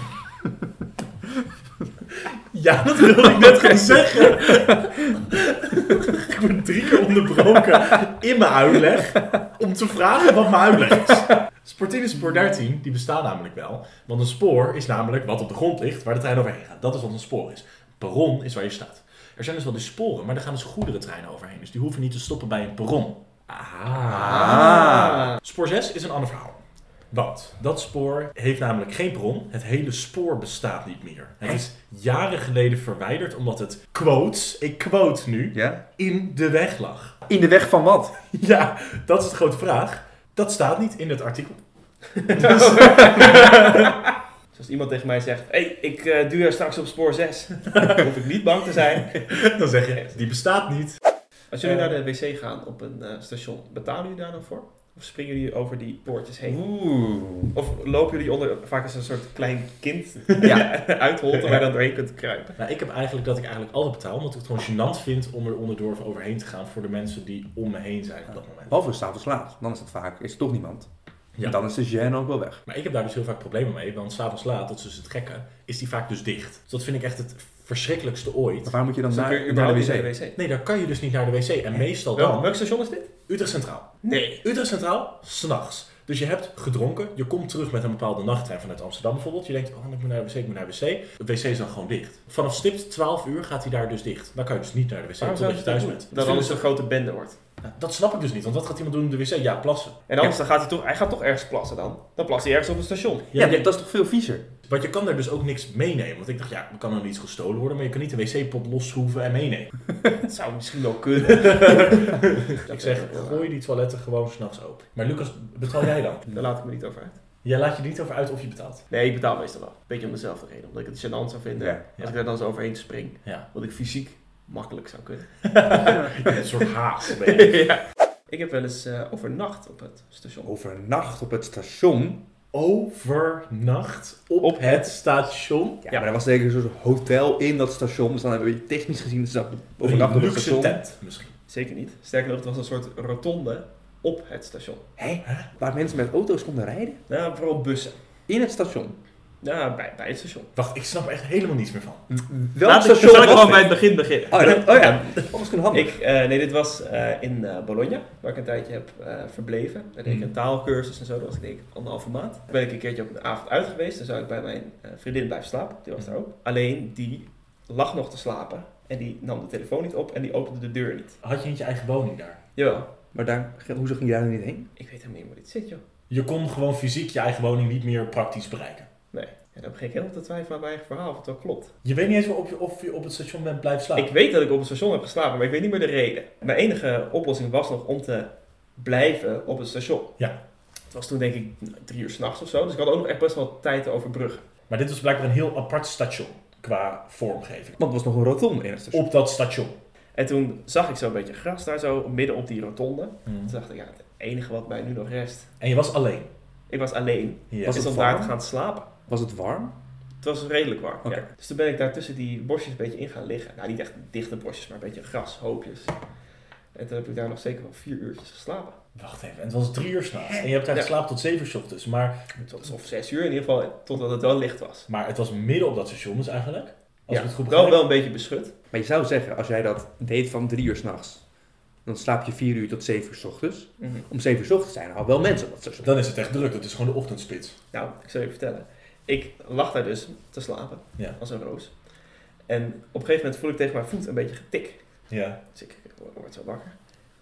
[SPEAKER 2] Ja, dat wilde ik net gaan zeggen. ik word drie keer onderbroken in mijn uitleg om te vragen wat mijn uitleg is. Spoor 10 en spoor 13, die bestaan namelijk wel. Want een spoor is namelijk wat op de grond ligt, waar de trein overheen gaat. Dat is wat een spoor is. Een perron is waar je staat. Er zijn dus wel die sporen, maar daar gaan dus goederentreinen overheen. Dus die hoeven niet te stoppen bij een perron.
[SPEAKER 3] Ah.
[SPEAKER 2] Spoor 6 is een ander verhaal. Want dat spoor heeft namelijk geen bron. Het hele spoor bestaat niet meer. Het is jaren geleden verwijderd omdat het, quotes, ik quote nu,
[SPEAKER 3] Ja?
[SPEAKER 2] in de weg lag.
[SPEAKER 3] In de weg van wat?
[SPEAKER 2] Ja, dat is de grote vraag. Dat staat niet in het artikel.
[SPEAKER 1] Dus als iemand tegen mij zegt, hé, hey, ik eh, duur straks op spoor 6, dan hoef ik niet bang te zijn.
[SPEAKER 2] Dan zeg je, die bestaat niet.
[SPEAKER 1] Als jullie
[SPEAKER 2] Eh.
[SPEAKER 1] naar de wc gaan op een eh, station, betalen jullie daar dan voor? Of springen jullie over die poortjes heen?
[SPEAKER 3] Oeh.
[SPEAKER 1] Of lopen jullie onder, vaak is een soort klein kind
[SPEAKER 3] Ja.
[SPEAKER 1] uitholt waar je dan doorheen kunt kruipen?
[SPEAKER 2] Nou, ik heb eigenlijk dat ik eigenlijk altijd betaal, omdat ik het gewoon gênant vind om er onderdoor of overheen te gaan voor de mensen die om me heen zijn op dat moment.
[SPEAKER 3] Behalve s'avonds laat. Dan is het vaak, is er toch niemand.
[SPEAKER 2] Ja.
[SPEAKER 3] En dan is de gêne ook wel weg.
[SPEAKER 2] Maar ik heb daar dus heel vaak problemen mee, want s'avonds laat, dat is dus het gekke, is die vaak dus dicht. Dus dat vind ik echt het verschrikkelijkste ooit.
[SPEAKER 3] Maar waar moet je dan
[SPEAKER 1] Dus dan kun je
[SPEAKER 3] naar, naar
[SPEAKER 1] überhaupt
[SPEAKER 3] de
[SPEAKER 1] niet naar
[SPEAKER 3] wc?
[SPEAKER 1] de wc.
[SPEAKER 2] Nee, daar kan je dus niet naar de wc. En meestal
[SPEAKER 1] Welk,
[SPEAKER 2] dan
[SPEAKER 1] welk station is dit?
[SPEAKER 2] Utrecht Centraal.
[SPEAKER 1] Nee.
[SPEAKER 2] Utrecht Centraal, s'nachts. Dus je hebt gedronken, je komt terug met een bepaalde nachttrein vanuit Amsterdam bijvoorbeeld. Je denkt, oh, ik moet naar de wc, ik moet naar de wc. Het wc is dan gewoon dicht. Vanaf stipt 12 uur gaat hij daar dus dicht. Dan kan je dus niet naar de wc
[SPEAKER 1] Waarom
[SPEAKER 2] totdat
[SPEAKER 1] zouden
[SPEAKER 2] je
[SPEAKER 1] ze dat
[SPEAKER 2] thuis
[SPEAKER 1] doen?
[SPEAKER 2] bent.
[SPEAKER 1] Dat
[SPEAKER 2] vind
[SPEAKER 1] anders een grote bende wordt.
[SPEAKER 2] ik- nou, dat snap ik dus niet, want wat gaat iemand doen op de wc? Ja, plassen.
[SPEAKER 1] En anders dan gaat hij toch, hij gaat toch ergens plassen dan? Dan plast hij ergens op een station.
[SPEAKER 3] Ja,
[SPEAKER 2] Ja, maar-
[SPEAKER 3] dat is toch veel viezer?
[SPEAKER 2] Want je kan daar dus ook niks meenemen. Want ik dacht, ja, er kan dan iets gestolen worden, maar je kan niet de wc-pot losschroeven en meenemen.
[SPEAKER 1] Dat zou misschien wel kunnen.
[SPEAKER 2] Ik zeg, gooi die toiletten gewoon s'nachts open. Maar Lucas, betaal jij dan?
[SPEAKER 1] Daar laat ik me niet over uit.
[SPEAKER 2] Jij laat je niet over uit of je betaalt.
[SPEAKER 1] Nee, ik betaal meestal wel. Beetje om dezelfde reden. Omdat ik het gênant zou vinden
[SPEAKER 3] Ja.
[SPEAKER 1] als ik daar dan zo overheen spring.
[SPEAKER 2] Ja.
[SPEAKER 1] Wat ik fysiek makkelijk zou kunnen.
[SPEAKER 2] Een soort haat. ben je.
[SPEAKER 1] ja. Ik heb wel eens eh, overnacht op het station.
[SPEAKER 3] Oh. Overnacht op het station.
[SPEAKER 2] Overnacht op, het station.
[SPEAKER 3] Ja, maar er was zeker een soort hotel in dat station. Dus dan hebben we technisch gezien dus dat overnacht op het
[SPEAKER 2] luxe
[SPEAKER 3] station.
[SPEAKER 2] tent misschien.
[SPEAKER 1] Zeker niet. Sterker nog, het was een soort rotonde op het station.
[SPEAKER 3] Hé? Waar mensen met auto's konden rijden?
[SPEAKER 1] Nou, vooral bussen.
[SPEAKER 3] In het station.
[SPEAKER 1] Ja, bij, bij het station.
[SPEAKER 2] Wacht, ik snap er echt helemaal niets meer van.
[SPEAKER 3] Welk
[SPEAKER 1] Laat ik,
[SPEAKER 3] station
[SPEAKER 1] zal ik
[SPEAKER 3] was
[SPEAKER 1] gewoon bij
[SPEAKER 3] dit?
[SPEAKER 1] het begin beginnen.
[SPEAKER 3] Oh, dat- oh ja, dat was misschien handig.
[SPEAKER 1] Ik, eh, nee, dit was eh, in eh, Bologna, waar ik een tijdje heb eh, verbleven. Daar deed ik een taalkursus en zo, dat was ik denk ik anderhalve maand. Toen ben ik een keertje op een avond uit geweest, dan zou ik bij mijn eh, vriendin blijven slapen, die was daar ook. Alleen die lag nog te slapen en die nam de telefoon niet op en die opende de deur niet.
[SPEAKER 2] Had je niet je eigen woning daar?
[SPEAKER 1] Jawel,
[SPEAKER 3] Maar daar, hoezo ging je daar niet heen?
[SPEAKER 1] ik weet helemaal niet waar dit zit joh.
[SPEAKER 2] Je kon gewoon fysiek je eigen woning niet meer praktisch bereiken.
[SPEAKER 1] Nee. En dan begin ik helemaal te twijfelen aan mijn eigen verhaal of het wel klopt.
[SPEAKER 2] Je weet niet eens meer of je, of je op het station bent blijven slapen.
[SPEAKER 1] Ik weet dat ik op het station heb geslapen, maar ik weet niet meer de reden. Mijn enige oplossing was nog om te blijven op het station.
[SPEAKER 2] Ja.
[SPEAKER 1] Het was toen denk ik drie uur s'nachts of zo, dus ik had ook nog echt best wel tijd te overbruggen.
[SPEAKER 2] Maar dit was blijkbaar een heel apart station qua vormgeving.
[SPEAKER 3] Want er was nog een rotonde in het station.
[SPEAKER 2] Op dat station.
[SPEAKER 1] En toen zag ik zo'n beetje gras daar zo, midden op die rotonde.
[SPEAKER 2] Hmm.
[SPEAKER 1] Toen dacht ik, ja, het enige wat mij nu nog rest,
[SPEAKER 2] En je was alleen.
[SPEAKER 1] ik was alleen,
[SPEAKER 2] Ja.
[SPEAKER 3] Was
[SPEAKER 1] is
[SPEAKER 3] het
[SPEAKER 1] om daar
[SPEAKER 3] warm?
[SPEAKER 1] te gaan slapen.
[SPEAKER 3] Was het warm?
[SPEAKER 1] Het was redelijk warm,
[SPEAKER 3] Oké.
[SPEAKER 1] ja. Dus toen ben ik daar tussen die bosjes een beetje in gaan liggen. Nou, niet echt dichte bosjes, maar een beetje grashoopjes. En toen heb ik daar nog zeker wel vier uurtjes geslapen.
[SPEAKER 2] Wacht even, en het was drie uur s'nachts. En je hebt daar
[SPEAKER 1] Ja.
[SPEAKER 2] geslapen tot zeven uur ochtends. Maar,
[SPEAKER 1] Tot, of zes uur in ieder geval, totdat het wel licht was.
[SPEAKER 2] maar het was midden op dat station dus eigenlijk. Als
[SPEAKER 1] Ja,
[SPEAKER 2] ik het goed
[SPEAKER 1] wel,
[SPEAKER 2] begrijp.
[SPEAKER 1] wel een beetje beschut.
[SPEAKER 3] Maar je zou zeggen, als jij dat deed van drie uur s'nachts, dan slaap je vier uur tot zeven uur s ochtends.
[SPEAKER 2] Mhm.
[SPEAKER 3] Om zeven uur s ochtends zijn er al wel mensen op dat station.
[SPEAKER 2] Dan is het echt druk. Het is gewoon de ochtendspits.
[SPEAKER 1] Nou, ik zal je vertellen. Ik lag daar dus te slapen,
[SPEAKER 2] Ja.
[SPEAKER 1] als een roos. En op een gegeven moment voel ik tegen mijn voet een beetje getik.
[SPEAKER 2] Ja.
[SPEAKER 1] Dus ik word zo wakker.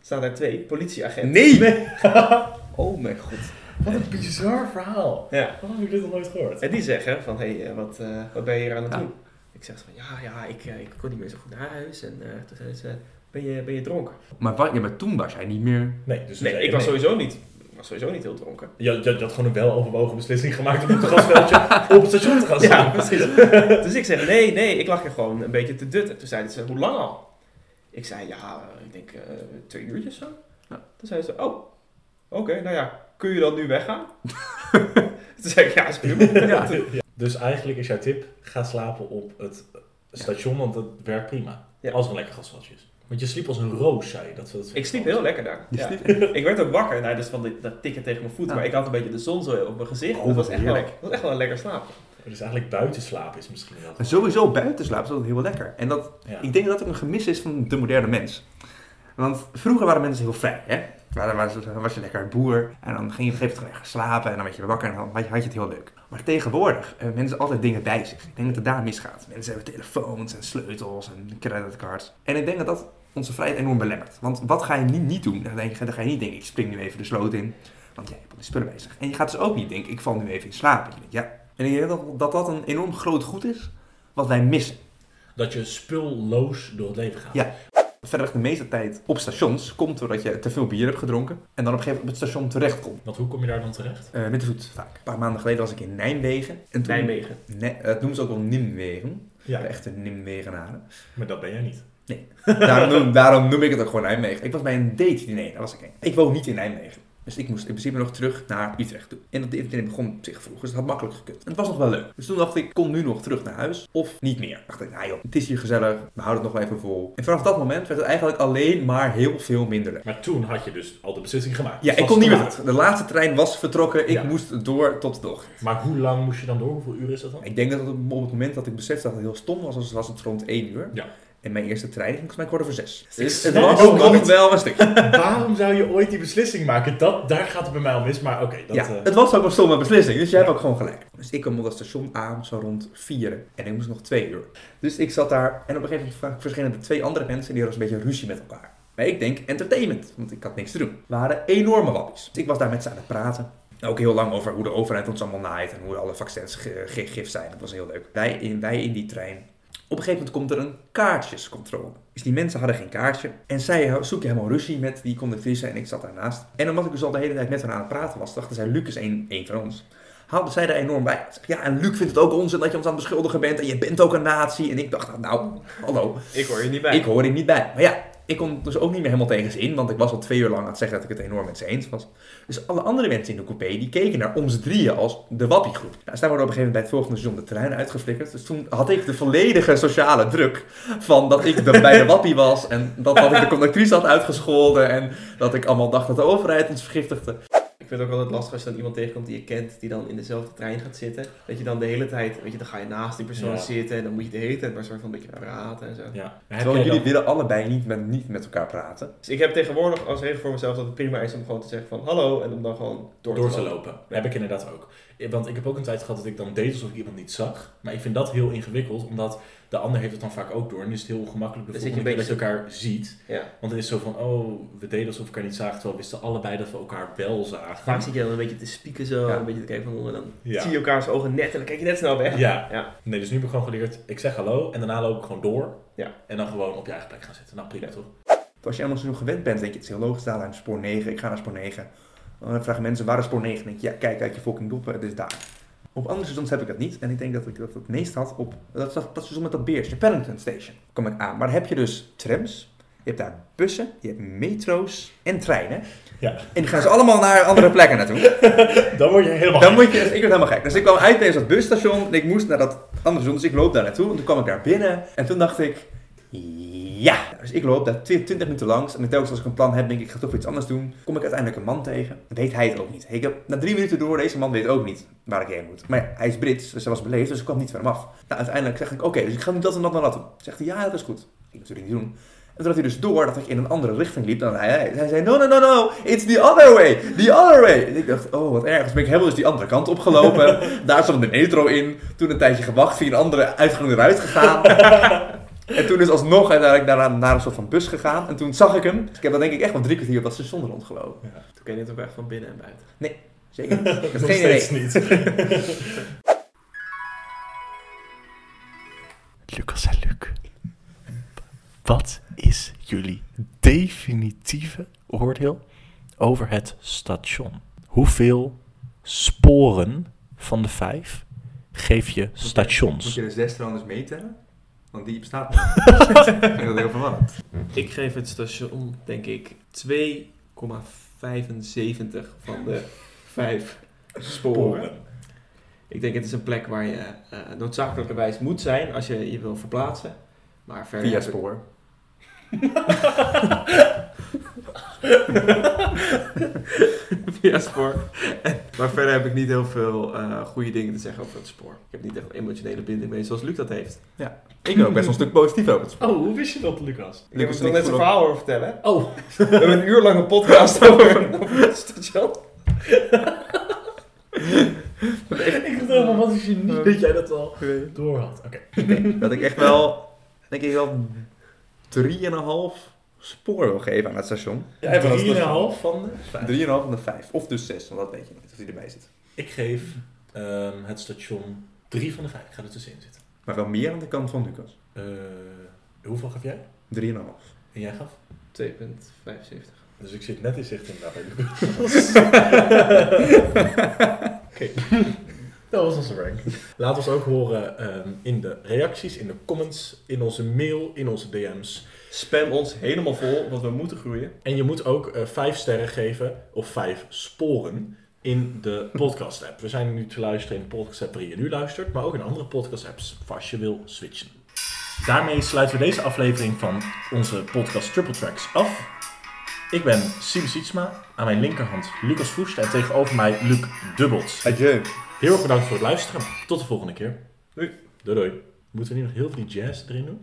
[SPEAKER 1] Staan daar twee politieagenten.
[SPEAKER 3] Nee! oh mijn god.
[SPEAKER 2] Wat een bizar verhaal.
[SPEAKER 1] Ja.
[SPEAKER 2] Waarom heb ik dit nog nooit gehoord?
[SPEAKER 1] En die zeggen van, hé, hey, wat, eh, wat ben je hier aan het
[SPEAKER 3] Ja.
[SPEAKER 1] doen? Ik zeg van, ja, ja, ik, eh, ik kon niet meer zo goed naar huis. En eh, toen zeiden ze, ben je, ben je dronken?
[SPEAKER 3] Maar, wa- ja, maar toen was jij niet meer...
[SPEAKER 2] Nee, dus
[SPEAKER 1] Nee, ik was sowieso niet, ik was sowieso niet heel dronken.
[SPEAKER 2] Je, had- je had gewoon een weloverwogen beslissing gemaakt om op het grasveldje op het station te gaan
[SPEAKER 1] Ja,
[SPEAKER 2] staan.
[SPEAKER 1] precies. dus ik zeg, nee, nee, ik lag hier gewoon een beetje te dutten. Toen zeiden ze, hoe lang al? Ik zei, ja, eh, ik denk eh, twee uurtjes zo.
[SPEAKER 3] Ja.
[SPEAKER 1] Toen zeiden ze, oh, oké, nou ja, kun je dan nu weggaan? toen zei ik, ja, is prima.
[SPEAKER 3] Ja.
[SPEAKER 2] Dus eigenlijk is jouw tip, ga slapen op het station, want dat werkt prima.
[SPEAKER 1] Ja.
[SPEAKER 2] Als er een lekker grasveldje is. Want je sliep als een roos, zei je. Dat, dat,
[SPEAKER 1] Ik sliep heel lekker daar. Ja. Ik werd ook wakker, nou, dus van dit- dat tikken tegen mijn voet.
[SPEAKER 3] Ja.
[SPEAKER 1] Maar ik had een beetje de zon zo op mijn gezicht.
[SPEAKER 2] Oh,
[SPEAKER 1] dat, was
[SPEAKER 2] wat
[SPEAKER 1] echt wel,
[SPEAKER 2] heerlijk.
[SPEAKER 1] dat was echt wel een lekker slaapje.
[SPEAKER 2] Dus eigenlijk buiten slapen is misschien wel...
[SPEAKER 3] Maar Sowieso buiten slapen is altijd heel lekker. En dat,
[SPEAKER 2] Ja.
[SPEAKER 3] ik denk dat dat ook een gemis is van de moderne mens. Want vroeger waren mensen heel vrij, hè? Maar Dan was, dan was je lekker boer en dan ging je op een gegeven moment lekker slapen en dan werd je weer wakker en dan had je, had je het heel leuk. Maar tegenwoordig hebben mensen altijd dingen bij zich. Ik denk dat het daar misgaat. Mensen hebben telefoons en sleutels en creditcards. En ik denk dat dat onze vrijheid enorm belemmert. Want wat ga je nu niet doen? Dan, denk je, dan ga je niet denken, ik spring nu even de sloot in, want jij hebt al die spullen bij zich. En je gaat dus ook niet denken, ik val nu even in slaap. En je denkt, ja. En ik denk dat dat, dat een enorm groot goed is wat wij missen.
[SPEAKER 2] Dat je spulloos door het leven gaat.
[SPEAKER 3] Ja. Verder de meeste tijd op stations komt doordat je te veel bier hebt gedronken en dan op een gegeven moment op het station terechtkomt.
[SPEAKER 2] Want hoe kom je daar dan terecht?
[SPEAKER 3] Eh, met de voet vaak. Een paar maanden geleden was ik in Nijmegen. En toen,
[SPEAKER 1] Nijmegen.
[SPEAKER 3] Nee, eh, dat noemen ze ook wel Nimwegen.
[SPEAKER 2] Ja,
[SPEAKER 3] De echte Nimwegenaren.
[SPEAKER 2] maar dat ben jij niet.
[SPEAKER 3] Daarom noem, daarom noem ik het ook gewoon Nijmegen. Ik was bij een date diner, daar was ik heen. Ik woon niet in Nijmegen. Dus ik moest in principe nog terug naar Utrecht toe. En dat date diner begon op zich vroeg, dus dat had makkelijk gekund. En het was nog wel leuk. Dus toen dacht ik, kon nu nog terug naar huis of niet meer. Dacht ik, nou joh, het is hier gezellig, we houden het nog wel even vol. En vanaf dat moment werd het eigenlijk alleen maar heel veel minder leuk.
[SPEAKER 2] Maar toen had je dus al de beslissing gemaakt.
[SPEAKER 3] Ja,
[SPEAKER 2] Het
[SPEAKER 3] ik
[SPEAKER 2] was
[SPEAKER 3] kon niet
[SPEAKER 2] te
[SPEAKER 3] meer
[SPEAKER 2] laat.
[SPEAKER 3] terug. De laatste trein was vertrokken. Ik
[SPEAKER 2] Ja.
[SPEAKER 3] moest door tot nog.
[SPEAKER 2] Maar hoe lang moest je dan door? Hoeveel uur is dat dan?
[SPEAKER 3] Ik denk dat het op op het moment dat ik besefte dat het heel stom was, was- was het rond 1 uur.
[SPEAKER 2] Ja.
[SPEAKER 3] En mijn eerste trein ging volgens mij kwart over zes. Dus
[SPEAKER 2] is
[SPEAKER 3] het was
[SPEAKER 2] ook
[SPEAKER 3] nog
[SPEAKER 2] nooit.
[SPEAKER 3] wel een stuk.
[SPEAKER 2] Waarom zou je ooit die beslissing maken? Dat, daar gaat het bij mij al mis, maar oké. dat
[SPEAKER 3] ja,
[SPEAKER 2] eh,
[SPEAKER 3] het was ook een stomme beslissing, dus jij hebt ook gewoon gelijk. Dus ik kwam op dat station aan, zo rond vier. En ik moest nog twee uur. Dus ik zat daar en op een gegeven moment verschenen er twee andere mensen die hadden een beetje ruzie met elkaar. Maar ik denk entertainment, want ik had niks te doen. Het waren enorme wappies. Dus ik was daar met ze aan het praten. Ook heel lang over hoe de overheid ons allemaal naait en hoe alle vaccins ge- ge- gif zijn. Dat was heel leuk. Wij in, wij in die trein. Op een gegeven moment komt er een kaartjescontrole. Dus die mensen hadden geen kaartje. En zij zoeken helemaal ruzie met die conductrice en ik zat daarnaast. En omdat ik dus al de hele tijd met haar aan het praten was, dachten zij, Luc is een, een van ons. haalden zij daar enorm bij. Ik zeg, ja, en Luc vindt het ook onzin dat je ons aan het beschuldigen bent en je bent ook een nazi. En ik dacht, nou, hallo,
[SPEAKER 1] Ik hoor je niet bij.
[SPEAKER 3] ik hoor hier niet bij. Maar ja, ik kon het dus ook niet meer helemaal tegen ze in, want ik was al twee uur lang aan het zeggen dat ik het enorm met ze eens was. Dus alle andere mensen in de coupé, die keken naar ons drieën als de wappiegroep. Nou, zij worden op een gegeven moment bij het volgende seizoen de terrein uitgeflikkerd. Dus toen had ik de volledige sociale druk van dat ik de, bij de wappie was en dat, dat ik de conductrice had uitgescholden en dat ik allemaal dacht dat de overheid ons vergiftigde.
[SPEAKER 1] Ik vind het ook altijd lastig als je dan iemand tegenkomt die je kent, die dan in dezelfde trein gaat zitten. Dat je dan de hele tijd, weet je, dan ga je naast die persoon
[SPEAKER 2] Ja.
[SPEAKER 1] zitten en dan moet je de hele tijd maar soort van een beetje praten en zo.
[SPEAKER 2] Ja.
[SPEAKER 3] Terwijl jullie willen allebei niet met, niet met elkaar praten.
[SPEAKER 1] Dus ik heb tegenwoordig als regel voor mezelf dat het prima is om gewoon te zeggen van hallo en om dan gewoon door,
[SPEAKER 2] door
[SPEAKER 1] te
[SPEAKER 2] te
[SPEAKER 1] lopen.
[SPEAKER 2] lopen. Heb ik inderdaad ook. Want ik heb ook een tijd gehad dat ik dan deed alsof ik iemand niet zag. Maar ik vind dat heel ingewikkeld, omdat de ander heeft het dan vaak ook door. En is het heel gemakkelijk de
[SPEAKER 1] Dan zit je
[SPEAKER 2] volgende keer
[SPEAKER 1] een
[SPEAKER 2] dat je elkaar ziet.
[SPEAKER 1] Ja.
[SPEAKER 2] Want het is zo van, oh, we deden alsof we elkaar niet zagen, terwijl we wisten allebei dat we elkaar wel zagen.
[SPEAKER 1] Vaak zit je dan een beetje te spieken zo,
[SPEAKER 3] Ja.
[SPEAKER 1] een beetje te kijken van en dan
[SPEAKER 2] Ja.
[SPEAKER 1] zie je elkaars ogen net en dan kijk je net snel weg.
[SPEAKER 2] Ja.
[SPEAKER 1] Ja.
[SPEAKER 2] Nee, dus nu heb ik gewoon geleerd, ik zeg hallo en daarna loop ik gewoon door.
[SPEAKER 1] Ja.
[SPEAKER 2] En dan gewoon op je eigen plek gaan zitten. Nou, prima
[SPEAKER 1] Ja.
[SPEAKER 2] toch?
[SPEAKER 3] Als je helemaal zo gewend bent, denk je, het is heel logisch, daar aan spoor 9, ik ga naar spoor 9. Dan vragen mensen, waar is spoor 9? Dan denk je, ja, kijk uit je fucking doppen, het is daar. Op andere stations heb ik dat niet. En ik denk dat ik dat het meest had op, dat, dat, dat station met dat beertje, Paddington Station. Kom ik aan. Maar dan heb je dus trams, je hebt daar bussen, je hebt metro's en treinen.
[SPEAKER 2] Ja.
[SPEAKER 3] En die gaan ze allemaal naar andere plekken naartoe.
[SPEAKER 2] Dan word je helemaal...
[SPEAKER 3] Dan moet je, ik werd helemaal gek. Dus ik kwam uit bij dat busstation en ik moest naar dat andere station. Dus ik loop daar naartoe en toen kwam ik daar binnen. En toen dacht ik, ja. Dus ik loop daar 20 minuten langs. En telkens als ik een plan heb, denk ik, ik ga toch iets anders doen. Kom ik uiteindelijk een man tegen. Weet hij het ook niet. Ik heb na drie minuten door, deze man weet ook niet waar ik heen moet. Maar ja, hij is Brits, dus hij was beleefd, dus ik kwam niet van hem af. Nou, uiteindelijk zeg ik, oké, dus ik ga nu dat en dat en dat doen. Zegt hij, ja, dat is goed. Ik natuurlijk niet doen. En toen had hij dus door dat ik in een andere richting liep dan hij. Hij zei, no, no, no, no, it's the other way, the other way. En ik dacht, oh, wat erg. Dus ben ik helemaal dus die andere kant opgelopen. Daar stond de metro in. Toen een tijdje gewacht, via een andere uitgang eruit gegaan. en toen is alsnog uiteindelijk daarna naar een soort van bus gegaan. En toen zag ik hem. Dus ik heb dan denk ik echt wel drie kwartier op dat station rondgelopen.
[SPEAKER 1] Toen ken je het ook echt van binnen en buiten.
[SPEAKER 3] Zeker. Ik heb
[SPEAKER 2] Nog
[SPEAKER 3] geen idee.
[SPEAKER 2] steeds niet.
[SPEAKER 5] Lucas en Luc. Wat is jullie definitieve oordeel over het station? Hoeveel sporen van de vijf geef je
[SPEAKER 3] Moet
[SPEAKER 5] stations?
[SPEAKER 3] je dus de zes trouwens meetellen? Want die bestaat niet. ik vind dat heel verwarrend.
[SPEAKER 1] Ik geef het station, denk ik, 2,75 van de 5 sporen. Ik denk het is een plek waar je eh, noodzakelijkerwijs moet zijn als je je wil verplaatsen. Maar verder
[SPEAKER 3] Via
[SPEAKER 1] heb ik-
[SPEAKER 3] spoor.
[SPEAKER 1] via spoor. maar verder heb ik niet heel veel eh, goede dingen te zeggen over het spoor. Ik heb niet echt een emotionele binding mee zoals Luc dat heeft.
[SPEAKER 3] Ik ben ook best wel een stuk positief over het spoor.
[SPEAKER 2] Oh, hoe wist je dat, Lucas?
[SPEAKER 1] Ik
[SPEAKER 3] Luc
[SPEAKER 1] heb
[SPEAKER 3] is
[SPEAKER 1] het al
[SPEAKER 3] er niet
[SPEAKER 1] net zijn
[SPEAKER 3] voor
[SPEAKER 1] verhaal horen vertellen.
[SPEAKER 2] Oh,
[SPEAKER 1] We hebben een uur lange podcast over, over het station.
[SPEAKER 2] ik dacht helemaal, wat is je niet dat jij dat al door had. Oké.
[SPEAKER 3] Ik denk dat ik echt wel, denk ik wel 3,5 spoor wil geven aan het station. 3,5
[SPEAKER 2] Ja, en 3,5 van de
[SPEAKER 3] dus- van de 5. Of dus 6, want dat weet je niet of die erbij zit.
[SPEAKER 2] Ik geef ehm, het station 3 van de 5. Ik ga er tussenin zitten.
[SPEAKER 3] Maar wel meer aan de kant van Lucas.
[SPEAKER 2] Eh, hoeveel gaf jij?
[SPEAKER 3] 3,5.
[SPEAKER 2] En jij gaf?
[SPEAKER 1] 2,75.
[SPEAKER 2] Dus ik zit net in zicht in bij Lucas. Oké. Dat was onze rank. Laat ons ook horen ehm, in de reacties, in de comments, in onze mail, in onze DM's.
[SPEAKER 1] Spam ons helemaal vol, want we moeten groeien.
[SPEAKER 2] En je moet ook eh, vijf sterren geven, of vijf sporen, in de podcast app. We zijn nu te luisteren in de podcast app waar je nu luistert, maar ook in andere podcast apps, als je wil switchen. Daarmee sluiten we deze aflevering van onze podcast Triple Tracks af. Ik ben Siebe Sietsma, aan mijn linkerhand Lucas Voest en tegenover mij Luc Dubbels.
[SPEAKER 3] Adieu.
[SPEAKER 2] Heel erg bedankt voor het luisteren. Tot de volgende keer.
[SPEAKER 1] Doei.
[SPEAKER 2] Doei doei. Moeten we nu nog heel veel die jazz erin doen?